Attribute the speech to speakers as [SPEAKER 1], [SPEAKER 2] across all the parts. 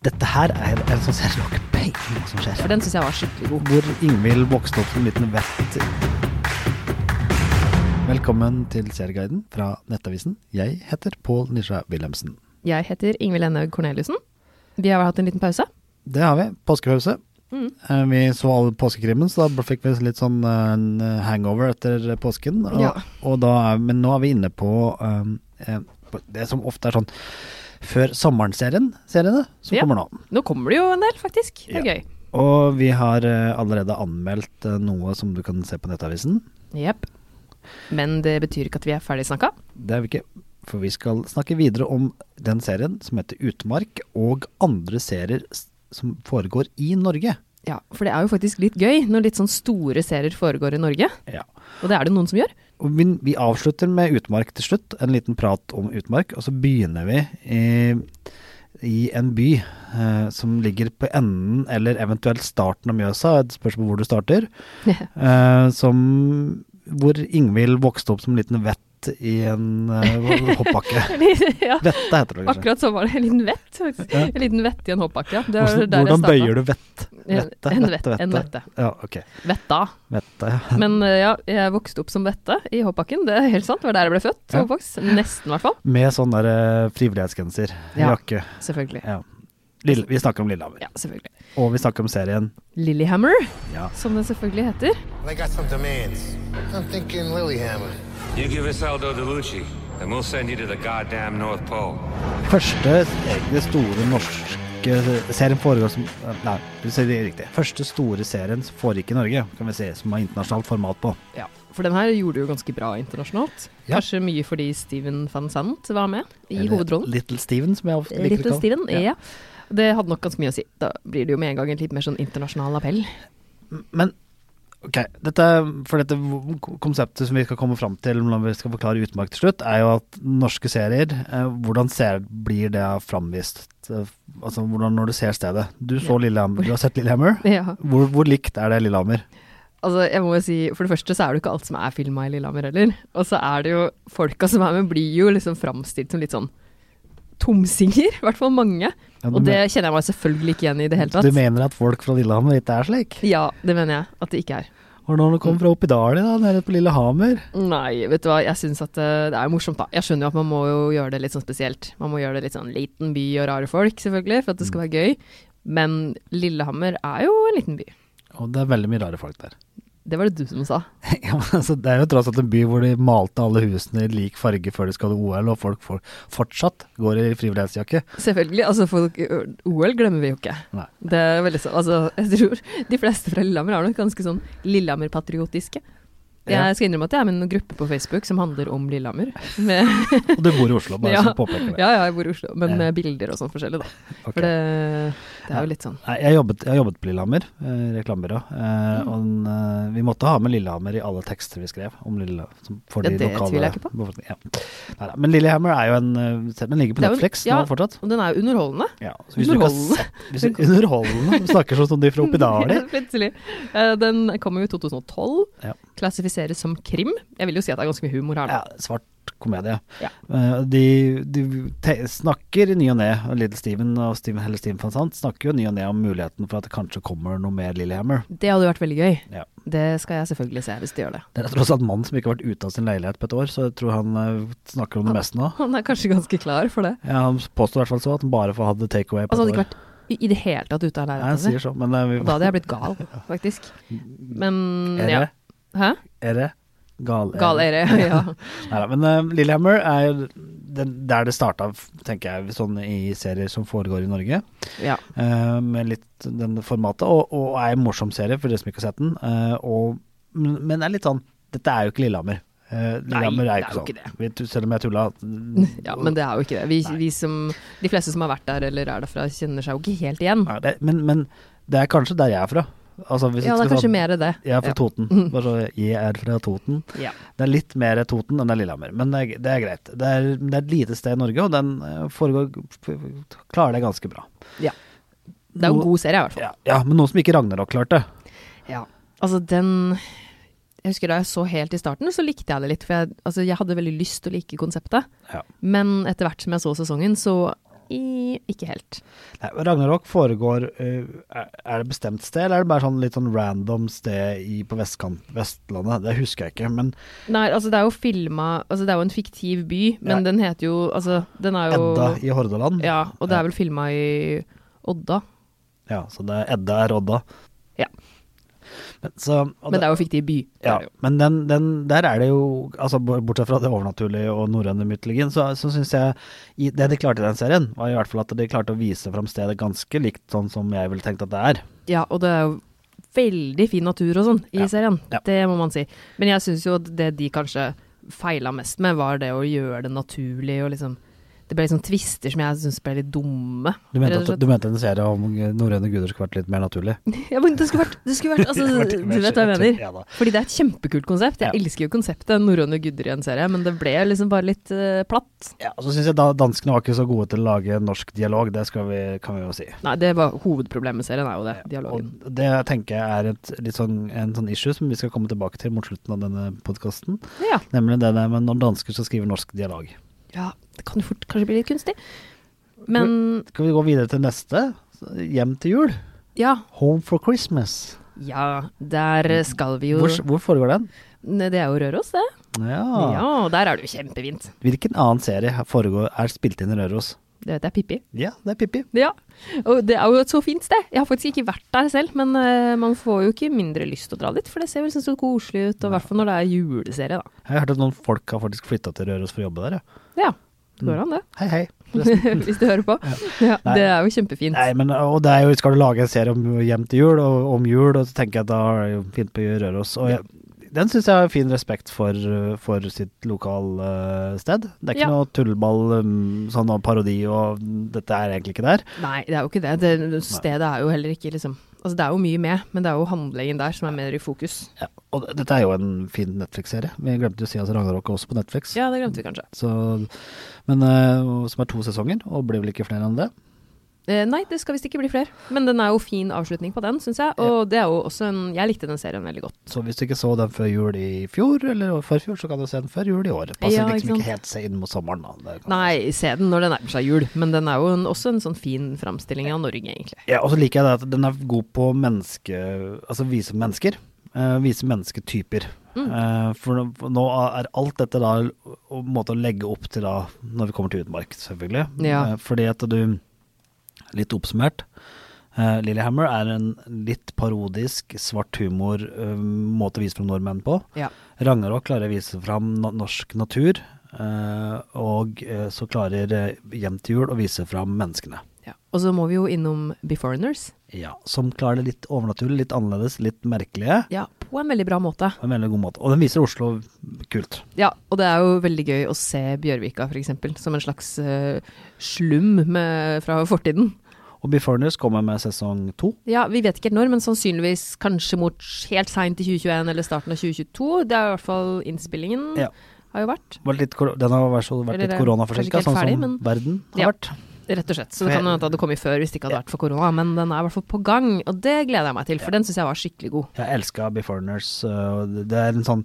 [SPEAKER 1] Dette her er en, en sånn serie du har ikke peiling på hva som skjer.
[SPEAKER 2] For den syns jeg var skikkelig god.
[SPEAKER 3] Hvor Ingvild vokste opp som en liten vett. Velkommen til Serieguiden fra Nettavisen. Jeg heter Pål Nisja Wilhelmsen.
[SPEAKER 2] Jeg heter Ingvild Enhaug Corneliussen. Vi har hatt en liten pause.
[SPEAKER 3] Det har vi. Påskepause.
[SPEAKER 2] Mm.
[SPEAKER 3] Eh, Vi så alle påskekrimmen, så da fikk vi litt sånn eh, en hangover etter påsken. Og,
[SPEAKER 2] Ja.
[SPEAKER 3] og da er, men nå er vi inne på um, eh, på det som ofte er sånn før sommeren-serien, seriene, som
[SPEAKER 2] Ja.
[SPEAKER 3] kommer nå.
[SPEAKER 2] Nå kommer det jo en del, faktisk. Det er
[SPEAKER 3] Ja.
[SPEAKER 2] gøy.
[SPEAKER 3] Og vi har eh, allerede anmeldt eh, noe som du kan se på Nettavisen.
[SPEAKER 2] Jepp. Men det betyr ikke at vi er ferdig snakka.
[SPEAKER 3] Det er vi ikke, for vi skal snakke videre om den serien som heter Utmark, og andre serier s- som foregår i Norge.
[SPEAKER 2] Ja, for det er jo faktisk litt gøy når litt sånn store serier foregår i Norge.
[SPEAKER 3] Ja.
[SPEAKER 2] Og det er det noen som gjør.
[SPEAKER 3] Og vi, vi avslutter med Utmark til slutt, en liten prat om Utmark, og så begynner vi i, i en by eh, som ligger på enden, eller eventuelt starten av Mjøsa, et spørsmål hvor du starter, eh, som, hvor Ingvild vokste opp som en liten vett i en eh, hoppbakke.
[SPEAKER 2] ja,
[SPEAKER 3] Vette heter det kanskje.
[SPEAKER 2] akkurat så var det en liten vett. faktisk.
[SPEAKER 3] Ja.
[SPEAKER 2] En liten vett i en hoppbakke. Ja. Det
[SPEAKER 3] Hvordan, hvordan bøyer du vett? Vette,
[SPEAKER 2] En
[SPEAKER 3] vette,
[SPEAKER 2] vett,
[SPEAKER 3] vette.
[SPEAKER 2] en vette.
[SPEAKER 3] Ja, ok.
[SPEAKER 2] Vetta.
[SPEAKER 3] Vette, ja.
[SPEAKER 2] Men eh, ja, jeg vokste opp som Vette i hoppbakken. Det er helt sant. Det var der jeg ble født.
[SPEAKER 3] Ja.
[SPEAKER 2] og oppvokst. Nesten, i hvert fall.
[SPEAKER 3] Med sånn der eh, frivillighetsgenser,
[SPEAKER 2] Ja.
[SPEAKER 3] jakke.
[SPEAKER 2] Selvfølgelig.
[SPEAKER 3] Ja. Lille, vi snakker om Lillehammer,
[SPEAKER 2] Ja, selvfølgelig.
[SPEAKER 3] og vi snakker om serien.
[SPEAKER 2] Lillehammer,
[SPEAKER 3] Ja.
[SPEAKER 2] som den selvfølgelig heter.
[SPEAKER 4] They got some demands. I'm thinking Lilyhammer.
[SPEAKER 5] You give us Aldo DeLucci, and we'll send you to the goddamn North Pole.
[SPEAKER 3] Første egne store norske serien foregår som eh, Nei, du sier det riktig. Første store serien som foregikk i Norge, kan vi si, som har internasjonalt format på.
[SPEAKER 2] Ja, For den her gjorde det jo ganske bra internasjonalt.
[SPEAKER 3] Ja.
[SPEAKER 2] Kanskje mye fordi Steven van Sant var med i
[SPEAKER 3] Eller
[SPEAKER 2] hovedrollen.
[SPEAKER 3] Little Steven, som jeg ofte liker å
[SPEAKER 2] Little
[SPEAKER 3] kalle
[SPEAKER 2] Steven, ja. Det hadde nok ganske mye å si. Da blir det jo med en gang en litt mer sånn internasjonal appell.
[SPEAKER 3] Men ok, dette, for dette v- konseptet som vi skal komme fram til når vi skal forklare Utmark til slutt, er jo at norske serier, eh, hvordan ser, blir det framvist? Eh, Altså hvordan når du ser stedet. Du så Lillehammer, du har sett Lillehammer.
[SPEAKER 2] Ja.
[SPEAKER 3] Hvor, hvor likt er det Lillehammer?
[SPEAKER 2] Altså, jeg må jo si, For det første så er det jo ikke alt som er filma i Lillehammer heller. Og så er det jo folka som er med, blir jo liksom framstilt som litt sånn tomsinger. I hvert fall mange.
[SPEAKER 3] Ja, du
[SPEAKER 2] Og det kjenner jeg meg selvfølgelig ikke igjen i det hele
[SPEAKER 3] Du
[SPEAKER 2] tatt.
[SPEAKER 3] mener at folk fra Lillehammer ikke er slik?
[SPEAKER 2] Ja, det mener jeg at det ikke er.
[SPEAKER 3] Og når du kommer fra Oppidali, da, nede på Lillehammer
[SPEAKER 2] Nei, vet du hva, jeg syns at eh, det er morsomt, da. Jeg skjønner jo at man må jo gjøre det litt sånn spesielt. Man må gjøre det litt sånn liten by og rare folk, selvfølgelig, for at det
[SPEAKER 3] Mm.
[SPEAKER 2] skal være gøy. Men Lillehammer er jo en liten by.
[SPEAKER 3] Og det er veldig mye rare folk der.
[SPEAKER 2] Det var det du som sa.
[SPEAKER 3] ja, men altså, det er jo tross alt en by hvor de malte alle husene i lik farge før de skal til OL, og folk får, fortsatt går i frivillighetsjakke.
[SPEAKER 2] Selvfølgelig. Altså, folk, OL glemmer vi jo ikke.
[SPEAKER 3] Nei.
[SPEAKER 2] Det er veldig sånn, altså, jeg tror de fleste fra Lillehammer er nok ganske sånn Lillehammer-patriotiske.
[SPEAKER 3] Ja.
[SPEAKER 2] Jeg skal innrømme at jeg er med i en gruppe på Facebook som handler om Lillehammer. Med,
[SPEAKER 3] Og du bor i Oslo, bare
[SPEAKER 2] Ja.
[SPEAKER 3] så jeg påpeker det.
[SPEAKER 2] ja, ja, jeg bor i Oslo, men
[SPEAKER 3] Ja.
[SPEAKER 2] med bilder og sånn forskjellig, da.
[SPEAKER 3] Ok.
[SPEAKER 2] For det, det er jo litt sånn
[SPEAKER 3] Nei, jeg, jobbet, jeg jobbet på Lillehammer, eh, reklamebyrå. Eh,
[SPEAKER 2] Mm.
[SPEAKER 3] og den, eh, vi måtte ha med Lillehammer i alle tekster vi skrev. Om Lille, som, for
[SPEAKER 2] Ja,
[SPEAKER 3] de
[SPEAKER 2] det
[SPEAKER 3] lokale,
[SPEAKER 2] tviler jeg ikke på.
[SPEAKER 3] befolkningen. Ja. Neida, men Lillehammer er jo en eh, Den ligger på
[SPEAKER 2] Det er jo en-
[SPEAKER 3] Netflix
[SPEAKER 2] ja.
[SPEAKER 3] nå fortsatt.
[SPEAKER 2] Og den er jo underholdende.
[SPEAKER 3] Ja, så hvis du ikke har
[SPEAKER 2] Underholdende.
[SPEAKER 3] sett- hvis du- Underholdende. Du snakker sånn som de fra Oppidali.
[SPEAKER 2] Ja, Plutselig. Eh, Den kom jo i 2012.
[SPEAKER 3] Ja.
[SPEAKER 2] Klassifiseres som krim. Jeg vil jo si at det er ganske mye humor her. da.
[SPEAKER 3] Ja, svart komedie.
[SPEAKER 2] Ja.
[SPEAKER 3] Eh, De, de te snakker i ny og ne, og Little Steven og Steven, eller Steven van Sant snakker jo i ny og ne om muligheten for at det kanskje kommer noe mer Lillehammer.
[SPEAKER 2] Det hadde jo vært veldig gøy.
[SPEAKER 3] Ja.
[SPEAKER 2] Det skal jeg selvfølgelig se hvis de gjør det.
[SPEAKER 3] Det er tross alt mannen som ikke har vært ute av sin leilighet på et år, så jeg tror han eh, snakker om det meste nå.
[SPEAKER 2] Han er kanskje ganske klar for det.
[SPEAKER 3] Ja, han påstår i hvert fall så at han bare får hadde takeaway på
[SPEAKER 2] Altså, han hadde
[SPEAKER 3] et år.
[SPEAKER 2] ikke vært i- i det hele tatt ute av
[SPEAKER 3] Nei, han
[SPEAKER 2] leiligheten
[SPEAKER 3] sier
[SPEAKER 2] sin.
[SPEAKER 3] så, Mm, men eh, vi,
[SPEAKER 2] Og da hadde jeg blitt gal, faktisk. Men
[SPEAKER 3] er,
[SPEAKER 2] ja.
[SPEAKER 3] det,
[SPEAKER 2] Hæ?
[SPEAKER 3] er det gal?
[SPEAKER 2] Gal ere, ja.
[SPEAKER 3] Neida, men eh, Lillehammer er jo den- der det starta, tenker jeg, sånn i serier som foregår i Norge.
[SPEAKER 2] ja.
[SPEAKER 3] eh, med litt den formatet, og, og er en morsom serie for dere som ikke har sett den. eh, og, men men er litt sånn Dette er jo ikke Lillehammer. Eh, Lillehammer er jo ikke sånn.
[SPEAKER 2] det er jo
[SPEAKER 3] Vi- selv om jeg tulla.
[SPEAKER 2] ja. Men det er jo ikke det. Vi, vi som, de fleste som har vært der eller er derfra, kjenner seg jo ikke helt igjen.
[SPEAKER 3] Nei, det, men, men det er kanskje der jeg er fra. Altså, hvis
[SPEAKER 2] Ja,
[SPEAKER 3] du
[SPEAKER 2] det
[SPEAKER 3] skal
[SPEAKER 2] er
[SPEAKER 3] ta-
[SPEAKER 2] kanskje mer det.
[SPEAKER 3] Jeg er fra
[SPEAKER 2] Ja.
[SPEAKER 3] Toten. Bare så jeg er fra Toten.
[SPEAKER 2] Ja.
[SPEAKER 3] Det er litt mer Toten enn det er Lillehammer, men det er, det er greit. Det er, det er et lite sted i Norge, og den eh, foregår klarer det ganske bra.
[SPEAKER 2] ja. Det er jo en
[SPEAKER 3] Noe-
[SPEAKER 2] god serie, i hvert fall.
[SPEAKER 3] Ja, ja men noe som ikke Ragnarok klarte.
[SPEAKER 2] Ja, altså den Jeg husker da jeg så helt i starten, så likte jeg det litt. For jeg, altså, jeg hadde veldig lyst til å like konseptet.
[SPEAKER 3] Ja.
[SPEAKER 2] Men etter hvert som jeg så sesongen, så I, ikke helt.
[SPEAKER 3] Nei, Ragnarok foregår eh, Er er det bestemt sted, eller er det bare sånn litt sånn random sted i, på vestkant, Vestlandet? Det husker jeg ikke, men
[SPEAKER 2] Nei, altså det er jo filma Altså det er jo en fiktiv by, men
[SPEAKER 3] Ja.
[SPEAKER 2] den heter jo Altså, den er jo
[SPEAKER 3] Edda i Hordaland.
[SPEAKER 2] Ja, og det er vel filma i Odda.
[SPEAKER 3] Ja, så det er Edda er Odda.
[SPEAKER 2] Ja.
[SPEAKER 3] Men, så, og
[SPEAKER 2] Men det er jo fiktiv by. det
[SPEAKER 3] Ja,
[SPEAKER 2] er det jo.
[SPEAKER 3] men den, den, der er det jo altså b- Bortsett fra det overnaturlige og norrøne mytologien, så, så syns jeg i, det de klarte i den serien, var i hvert fall at de klarte å vise fram stedet ganske likt sånn som jeg ville tenkt at det er.
[SPEAKER 2] ja, og det er jo veldig fin natur og sånn i
[SPEAKER 3] Ja.
[SPEAKER 2] serien.
[SPEAKER 3] Ja.
[SPEAKER 2] Det må man si. Men jeg syns jo at det de kanskje feila mest med, var det å gjøre det naturlig og liksom Det ble liksom tvister som jeg syns ble litt dumme.
[SPEAKER 3] Du
[SPEAKER 2] rett
[SPEAKER 3] mente,
[SPEAKER 2] og
[SPEAKER 3] at, du mente en serie om norrøne guder skulle vært litt mer naturlig?
[SPEAKER 2] slett. Ja, men det skulle vært, det skulle vært altså,
[SPEAKER 3] Det vært
[SPEAKER 2] Du vet hva jeg mener?
[SPEAKER 3] Ja da.
[SPEAKER 2] Fordi det er et kjempekult konsept.
[SPEAKER 3] Ja.
[SPEAKER 2] Jeg elsker jo konseptet norrøne guder i en serie, men det ble liksom bare litt eh, platt.
[SPEAKER 3] Ja, og så syns jeg da, danskene var ikke så gode til å lage norsk dialog, det skal vi, kan vi jo si.
[SPEAKER 2] Nei, det var hovedproblemet med serien, er jo det. Dialogen.
[SPEAKER 3] Og det tenker jeg er et, litt sånn, en sånn issue som vi skal komme tilbake til mot slutten av denne podkasten.
[SPEAKER 2] Ja.
[SPEAKER 3] Nemlig det der med når dansker skal skrive norsk dialog.
[SPEAKER 2] ja, det kan jo fort kanskje bli litt kunstig. Men
[SPEAKER 3] Skal vi gå videre til neste? Hjem til jul.
[SPEAKER 2] ja,
[SPEAKER 3] Home for Christmas.
[SPEAKER 2] ja, der skal vi jo
[SPEAKER 3] Hvor, hvor foregår den?
[SPEAKER 2] Ne, Det er jo Røros, det.
[SPEAKER 3] Ja.
[SPEAKER 2] Ja, der er det jo kjempefint.
[SPEAKER 3] Hvilken annen serie foregår, er spilt inn i Røros?
[SPEAKER 2] Det vet jeg, Pippi.
[SPEAKER 3] Ja, det er Pippi.
[SPEAKER 2] Ja, og det er jo et så fint sted. Jeg har faktisk ikke vært der selv, men eh, man får jo ikke mindre lyst til å dra dit, for det ser vel sånn så koselig ut, og i hvert fall når det er juleserie, da.
[SPEAKER 3] Jeg har hørt at noen folk har faktisk flytta til Røros for å jobbe der, ja.
[SPEAKER 2] Ja, det går an det,
[SPEAKER 3] Hei, hei. Forresten.
[SPEAKER 2] Mm. hvis du hører på. Ja,
[SPEAKER 3] Nei.
[SPEAKER 2] det er jo kjempefint.
[SPEAKER 3] Nei, men og det er jo, skal du lage en serie om hjem til jul, og om jul, og så tenker jeg at da er det jo fint på Røros. Og jeg, den syns jeg har fin respekt for, uh, for sitt lokalsted. det er ikke
[SPEAKER 2] Ja.
[SPEAKER 3] noe tullball, um, sånn og parodi og mm, dette er egentlig ikke der.
[SPEAKER 2] Nei, det er jo ikke det. det stedet er jo heller ikke liksom Altså, det er jo mye med, men det er jo handlingen der som er mer i fokus.
[SPEAKER 3] Ja, og det- dette er jo en fin Netflix-serie. Vi glemte jo å si at Ragnarok er også på Netflix.
[SPEAKER 2] Ja, det glemte vi kanskje.
[SPEAKER 3] Så, men, uh, og- som er to sesonger, og blir vel ikke flere enn det.
[SPEAKER 2] Eh, nei, det skal visst ikke bli flere. Men den er jo fin avslutning på den, syns jeg. Og det er jo også en Jeg likte den serien veldig godt.
[SPEAKER 3] Så hvis du ikke så den før jul i fjor, eller forfjor, så kan du se den før jul i år. Passer
[SPEAKER 2] Ja,
[SPEAKER 3] liksom
[SPEAKER 2] ikke
[SPEAKER 3] ikke
[SPEAKER 2] sant.
[SPEAKER 3] helt seg inn mot sommeren, da. Det kan-
[SPEAKER 2] Nei, se den når det nærmer seg jul, men den er jo en, også en sånn fin framstilling av Norge, egentlig.
[SPEAKER 3] Ja, og så liker jeg det at den er god på menneske, altså vise mennesker. eh, vise mennesketyper. Eh, for nå- for nå er alt dette da en måte å legge opp til da, når vi kommer til utmark, selvfølgelig.
[SPEAKER 2] Ja.
[SPEAKER 3] Eh, fordi at du, litt oppsummert, uh, Lillehammer er en litt parodisk, svart humor eh, måte å vise fram nordmenn på.
[SPEAKER 2] Ja.
[SPEAKER 3] Ragnarok klarer å vise fram na- norsk natur, eh, og eh, så klarer eh, Hjem til jul å vise fram menneskene.
[SPEAKER 2] ja. Og så må vi jo innom Beforeigners.
[SPEAKER 3] Ja, som klarer det litt overnaturlig, litt annerledes, litt merkelige.
[SPEAKER 2] Ja, på en veldig bra måte.
[SPEAKER 3] På en veldig god måte. Og den viser Oslo kult.
[SPEAKER 2] Ja, og det er jo veldig gøy å se Bjørvika, for eksempel, som en slags eh, slum med, fra fortiden.
[SPEAKER 3] Og Beforeigners kommer med sesong to.
[SPEAKER 2] Ja, vi vet ikke helt når, men sannsynligvis kanskje mot helt seint i 2021 eller starten av 2022. Det er i hvert fall innspillingen
[SPEAKER 3] Ja.
[SPEAKER 2] har jo vært,
[SPEAKER 3] Var litt, kor- den har vært, så- vært
[SPEAKER 2] Eller det
[SPEAKER 3] litt
[SPEAKER 2] er
[SPEAKER 3] koronaforsinka,
[SPEAKER 2] kanskje ikke
[SPEAKER 3] sånn
[SPEAKER 2] helt
[SPEAKER 3] som
[SPEAKER 2] ferdig, men-
[SPEAKER 3] verden har
[SPEAKER 2] Ja.
[SPEAKER 3] vært.
[SPEAKER 2] rett og slett. Så det kan hende at det hadde kommet før hvis det ikke hadde vært for korona, men den er i hvert fall på gang, og det gleder jeg meg til, for den syns jeg var skikkelig god.
[SPEAKER 3] Jeg elska Beforeigners. øh, og det- Det er en sånn som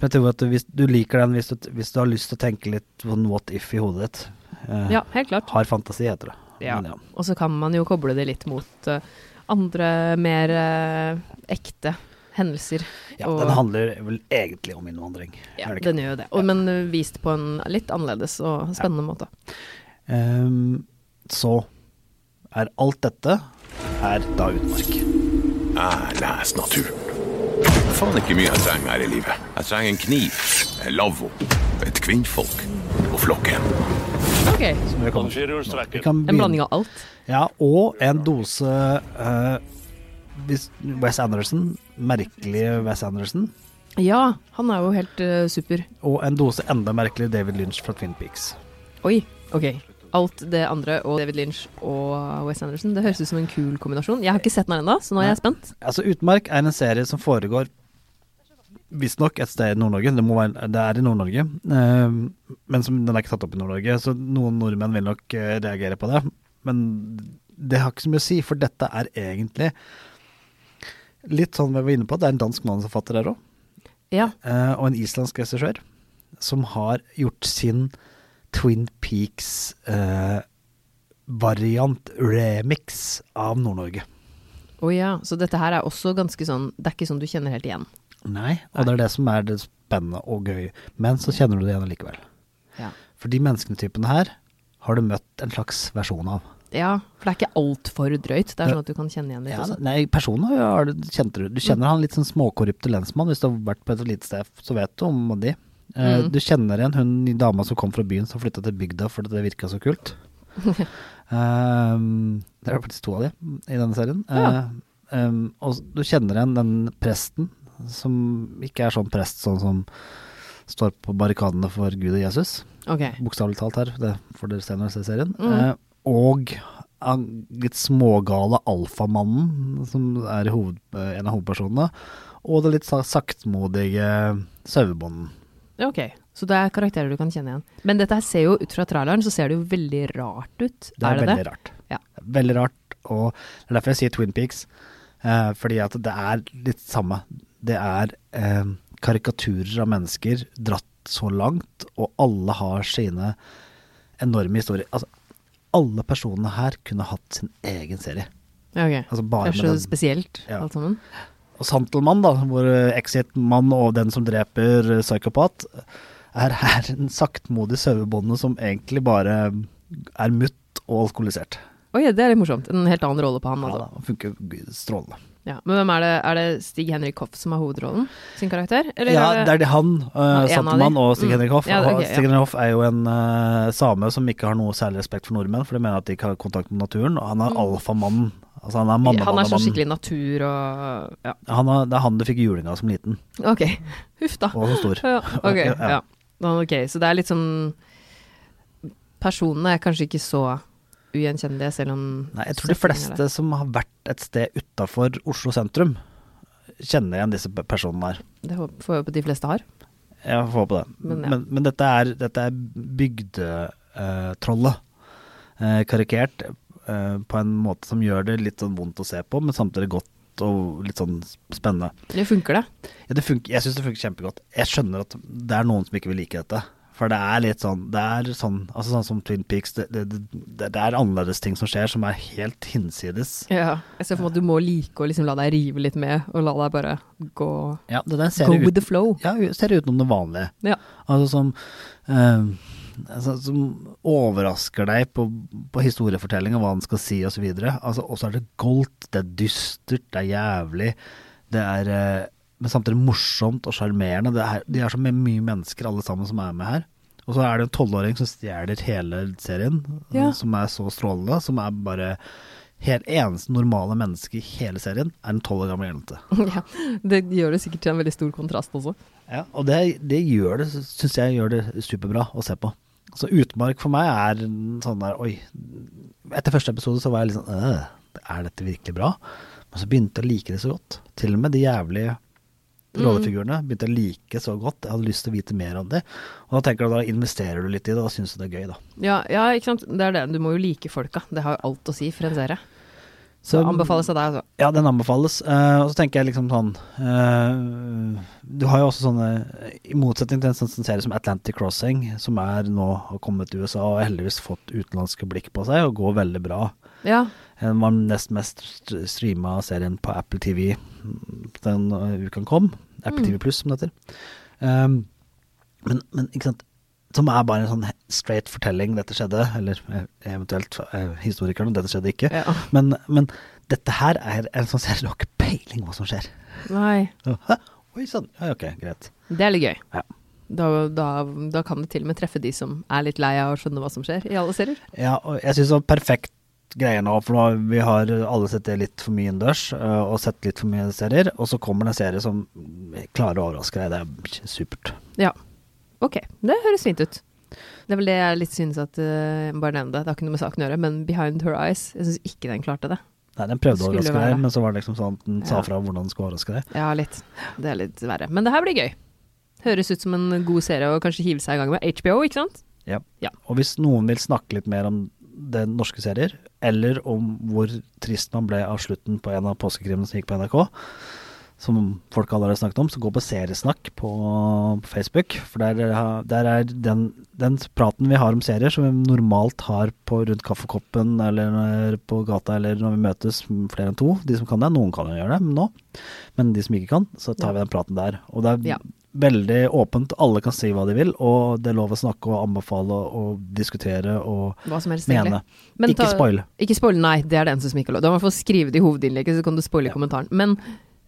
[SPEAKER 3] jeg tror at du, hvis, du liker den hvis du, hvis du har lyst til å tenke litt sånn what if i hodet ditt. Eh,
[SPEAKER 2] Ja, helt klart.
[SPEAKER 3] Har fantasi, heter det.
[SPEAKER 2] Ja.
[SPEAKER 3] Men
[SPEAKER 2] Og så kan man jo koble det litt mot eh, andre mer eh, ekte hendelser.
[SPEAKER 3] ja.
[SPEAKER 2] og,
[SPEAKER 3] Den handler vel egentlig om innvandring.
[SPEAKER 2] ja,
[SPEAKER 3] er det ikke?
[SPEAKER 2] den gjør jo det. Og, men eh, vist på en litt annerledes og spennende måte.
[SPEAKER 3] Ehm, så er alt dette er da utmark.
[SPEAKER 6] Jeg leser naturen. Det er faen ikke mye jeg trenger her i livet. Jeg trenger en kniv, en lavvo, et kvinnfolk og flokken.
[SPEAKER 2] Ok, en
[SPEAKER 3] Som vi kommer til. Vi
[SPEAKER 5] Skjærordstrekker.
[SPEAKER 3] kan begynne-
[SPEAKER 2] blanding av alt.
[SPEAKER 3] Ja, og en dose eh, hvis- Wes Anderson, merkelig Wes Anderson,
[SPEAKER 2] Ja, han er jo helt eh, super.
[SPEAKER 3] og en dose enda merkeligere David Lynch fra Twin Peaks.
[SPEAKER 2] Oi, ok. Alt det andre og David Lynch og Wes Anderson, det høres ut som en kul kombinasjon. Jeg har ikke sett den ennå, så nå er jeg spent.
[SPEAKER 3] Altså, Utmark er en serie som foregår visstnok et sted i Nord-Norge, det, må være, det er i Nord-Norge, eh, men som, den er ikke tatt opp i Nord-Norge, så noen nordmenn vil nok eh, reagere på det. Men det har ikke så mye å si, for dette er egentlig litt sånn vi var inne på, det er en dansk manusforfatter der òg.
[SPEAKER 2] Ja,
[SPEAKER 3] eh, og en islandsk regissør som har gjort sin Twin Peaks eh, variant-remix av Nord-Norge.
[SPEAKER 2] Å ja, så dette her er også ganske sånn Det er ikke sånn du kjenner helt igjen.
[SPEAKER 3] Nei, og det er det som er det spennende og gøy. Men så kjenner du det igjen allikevel.
[SPEAKER 2] Ja.
[SPEAKER 3] For de mennesketypene her har du møtt en slags versjon av.
[SPEAKER 2] for det er ikke altfor drøyt. Det er sånn at du kan kjenne igjen litt
[SPEAKER 3] Ja,
[SPEAKER 2] også.
[SPEAKER 3] nei, personen har du, kjente du. Du kjenner han litt sånn småkorrupte lensmann. Hvis du har vært på et lite sted, så vet du om de. Eh,
[SPEAKER 2] Mm.
[SPEAKER 3] Du kjenner igjen hun dama som kom fra byen som flytta til bygda fordi det virka så kult. um, det er faktisk to av de i denne serien.
[SPEAKER 2] Ja.
[SPEAKER 3] Eh, um, og s- du kjenner igjen den presten som ikke er sånn prest sånn som står på barrikadene for Gud og Jesus
[SPEAKER 2] Ok.
[SPEAKER 3] bokstavelig talt her, det får dere se når dere ser serien.
[SPEAKER 2] Mm.
[SPEAKER 3] Eh, og han litt smågale alfamannen, som er hoved, eh, en av hovedpersonene. Og det litt sa- saktmodige sauebonden.
[SPEAKER 2] Ok, Så det er karakterer du kan kjenne igjen. Men dette her ser jo, ut fra traileren, så ser det jo veldig rart ut.
[SPEAKER 3] Det er,
[SPEAKER 2] det
[SPEAKER 3] veldig
[SPEAKER 2] det?
[SPEAKER 3] rart.
[SPEAKER 2] Ja.
[SPEAKER 3] Veldig rart, og det er derfor jeg sier Twin Peaks. Eh, fordi at det er litt samme. Det er eh, karikaturer av mennesker dratt så langt, og alle har sine enorme historier. Altså, alle personene her kunne hatt sin egen serie.
[SPEAKER 2] Ja, ok.
[SPEAKER 3] Altså bare
[SPEAKER 2] det er
[SPEAKER 3] med
[SPEAKER 2] så
[SPEAKER 3] den.
[SPEAKER 2] spesielt,
[SPEAKER 3] Ja.
[SPEAKER 2] alt sammen.
[SPEAKER 3] Og Santelmann, da, hvor eh, Exit-mann og den som dreper eh, psykopat, er her en saktmodig sauebonde som egentlig bare er mutt og alkoholisert.
[SPEAKER 2] Oi, det er litt morsomt. En helt annen rolle på han,
[SPEAKER 3] Ja,
[SPEAKER 2] altså.
[SPEAKER 3] da, og funker g- strålende.
[SPEAKER 2] Ja. Men hvem er det? Er det Stig-Henrik Hoff som har hovedrollen sin karakter? Eller
[SPEAKER 3] Ja,
[SPEAKER 2] er det-
[SPEAKER 3] det er det han, uh,
[SPEAKER 2] av de?
[SPEAKER 3] Santelmann og Stig
[SPEAKER 2] Mm.
[SPEAKER 3] Henrik Hoff.
[SPEAKER 2] Ja, det-
[SPEAKER 3] Og
[SPEAKER 2] ok, ja.
[SPEAKER 3] Stig Henrik Hoff er jo en eh, same som ikke har noe særlig respekt for nordmenn, for de mener at de ikke har kontakt med naturen. Og han er alfamannen. Altså han er
[SPEAKER 2] Mm. Han er så
[SPEAKER 3] mammamannamannen.
[SPEAKER 2] skikkelig natur og ja.
[SPEAKER 3] Han er, det er han du fikk juling av som liten,
[SPEAKER 2] Ok, huff da.
[SPEAKER 3] og som stor.
[SPEAKER 2] Ja, ok,
[SPEAKER 3] Ja, ja.
[SPEAKER 2] ja. Ja, ok, så det er litt sånn Personene er kanskje ikke så ugjenkjennelige, selv om
[SPEAKER 3] Nei, jeg tror de
[SPEAKER 2] settingene er
[SPEAKER 3] fleste som har vært et sted utafor Oslo sentrum, kjenner igjen disse pe- personene her.
[SPEAKER 2] det. Det håper- får jeg håpe de fleste har.
[SPEAKER 3] Jeg får håpe det.
[SPEAKER 2] Men
[SPEAKER 3] Men,
[SPEAKER 2] ja.
[SPEAKER 3] men, dette er, dette er bygdetrollet. Eh, karikert eh, på en måte som gjør det litt sånn vondt å se på, men samtidig godt og litt sånn spennende.
[SPEAKER 2] Det funker, det.
[SPEAKER 3] Ja, det funker, jeg syns det funker kjempegodt. Jeg skjønner at det er noen som ikke vil like dette. For det er litt sånn Det er sånn, altså sånn som Twin Peaks. Det, det, det, det er annerledes ting som skjer, som er helt hinsides.
[SPEAKER 2] Ja. Jeg ser for meg at du må like å liksom la deg rive litt med, og la deg bare gå
[SPEAKER 3] Ja, det der ser
[SPEAKER 2] Go
[SPEAKER 3] ut,
[SPEAKER 2] with the flow.
[SPEAKER 3] Ja, u- ser utenom det vanlige.
[SPEAKER 2] Ja.
[SPEAKER 3] Altså som eh, altså, Som overrasker deg på, på historiefortelling og hva han skal si osv. Og så videre. altså, og så er det goldt, det er dystert, det er jævlig. Det er eh, men samtidig morsomt og sjarmerende. Det er- De er så mye, mye mennesker alle sammen som er med her. Og så er det en tolvåring som stjeler hele serien, eh,
[SPEAKER 2] Ja.
[SPEAKER 3] som er så strålende. Som er bare Helt eneste normale menneske i hele serien er en tolv år gammel jente.
[SPEAKER 2] ja. Det gjør det sikkert til en veldig stor kontrast også.
[SPEAKER 3] Ja, og det, det gjør det, syns jeg gjør det superbra å se på. Så utmark for meg er en sånn der Oi. Etter første episode så var jeg litt sånn øh, Er dette virkelig bra? Men så begynte jeg å like det så godt. Til og med de jævlige rollefigurene begynte jeg å like så godt. Jeg hadde lyst til å vite mer om det. Og da tenker du, da investerer du litt i det, og da syns du det er gøy, da.
[SPEAKER 2] Ja, ja, ikke sant. Det er det. Du må jo like folka. Det har jo alt å si for en serie.
[SPEAKER 3] Så,
[SPEAKER 2] Det anbefales av deg, altså.
[SPEAKER 3] Ja, den anbefales. Eh, og så tenker jeg liksom sånn eh, Du har jo også sånne I motsetning til en sånn sånn serie som Atlantic Crossing, som er nå har kommet til USA og heldigvis fått utenlandske blikk på seg og går veldig bra.
[SPEAKER 2] Ja.
[SPEAKER 3] Den var den nest mest st- streama serien på Apple TV den eh, uken kom. Apple TV Pluss, som det heter. Ehm, men, men ikke sant Som er bare en sånn he- straight fortelling, dette skjedde. Eller eh, eventuelt eh, historikerne, dette skjedde ikke.
[SPEAKER 2] Ja.
[SPEAKER 3] Men, men dette her er en sånn serie, du har ikke peiling hva som skjer.
[SPEAKER 2] Nei.
[SPEAKER 3] Så, Hæ? Oi sann, ja ok, greit.
[SPEAKER 2] Det er litt gøy.
[SPEAKER 3] Ja.
[SPEAKER 2] Da, da, da kan det til og med treffe de som er litt lei av å skjønne hva som skjer i alle serier.
[SPEAKER 3] Ja, og jeg syns det var perfekt greie nå, for nå, vi har alle sett det litt for mye innendørs, øh, og sett litt for mye serier, og så kommer det en serie som klarer å overraske deg. Det er supert.
[SPEAKER 2] Ja. Ok, det høres fint ut. Det er vel det jeg litt synes at eh, Jeg må bare nevne det. Det har ikke noe med saken å gjøre, men Behind Her Eyes, jeg syns ikke den klarte det.
[SPEAKER 3] Nei, den prøvde å
[SPEAKER 2] Skulle
[SPEAKER 3] overraske
[SPEAKER 2] være.
[SPEAKER 3] deg, men så var det liksom sånn at den sa
[SPEAKER 2] Ja.
[SPEAKER 3] fra hvordan den skulle overraske deg.
[SPEAKER 2] Ja, litt. Det er litt verre. Men det her blir gøy. Høres ut som en god serie å kanskje hive seg i gang med. HBO, ikke sant?
[SPEAKER 3] Ja.
[SPEAKER 2] Ja.
[SPEAKER 3] Og hvis noen vil snakke litt mer om det norske serier, eller om hvor trist man ble av slutten på en av påskekrimene som gikk på NRK, som folk allerede har snakket om, så gå på seriesnakk på, på Facebook. For der, ha- der er den, den praten vi har om serier, som vi normalt har på rundt kaffekoppen eller på gata eller når vi møtes flere enn to, de som kan det. Noen kan jo gjøre det nå, men de som ikke kan, så tar vi den praten der. Og det er
[SPEAKER 2] Ja.
[SPEAKER 3] veldig åpent. Alle kan si hva de vil, og det er lov å snakke og anbefale og diskutere og
[SPEAKER 2] Hva som helst,
[SPEAKER 3] mene.
[SPEAKER 2] Men
[SPEAKER 3] Ikke spoile.
[SPEAKER 2] Ikke spoil, nei. Det er det eneste som ikke er lov. Du må i hvert fall skrive det i hovedinnlegget, så kan du spoile i kommentaren. Men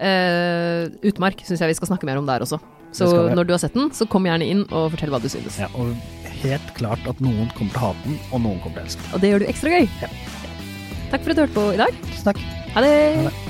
[SPEAKER 2] eh, utmark syns jeg vi skal snakke mer om der også. Så
[SPEAKER 3] Det skal vi.
[SPEAKER 2] når du har sett den, så kom gjerne inn og fortell hva du synes.
[SPEAKER 3] Ja, og helt klart at noen kommer til å hate den, og noen kommer til å elske den.
[SPEAKER 2] Og det gjør du ekstra gøy. Takk for at du hørte på i dag.
[SPEAKER 3] Tusen takk.
[SPEAKER 2] Ha det.
[SPEAKER 3] Ha det.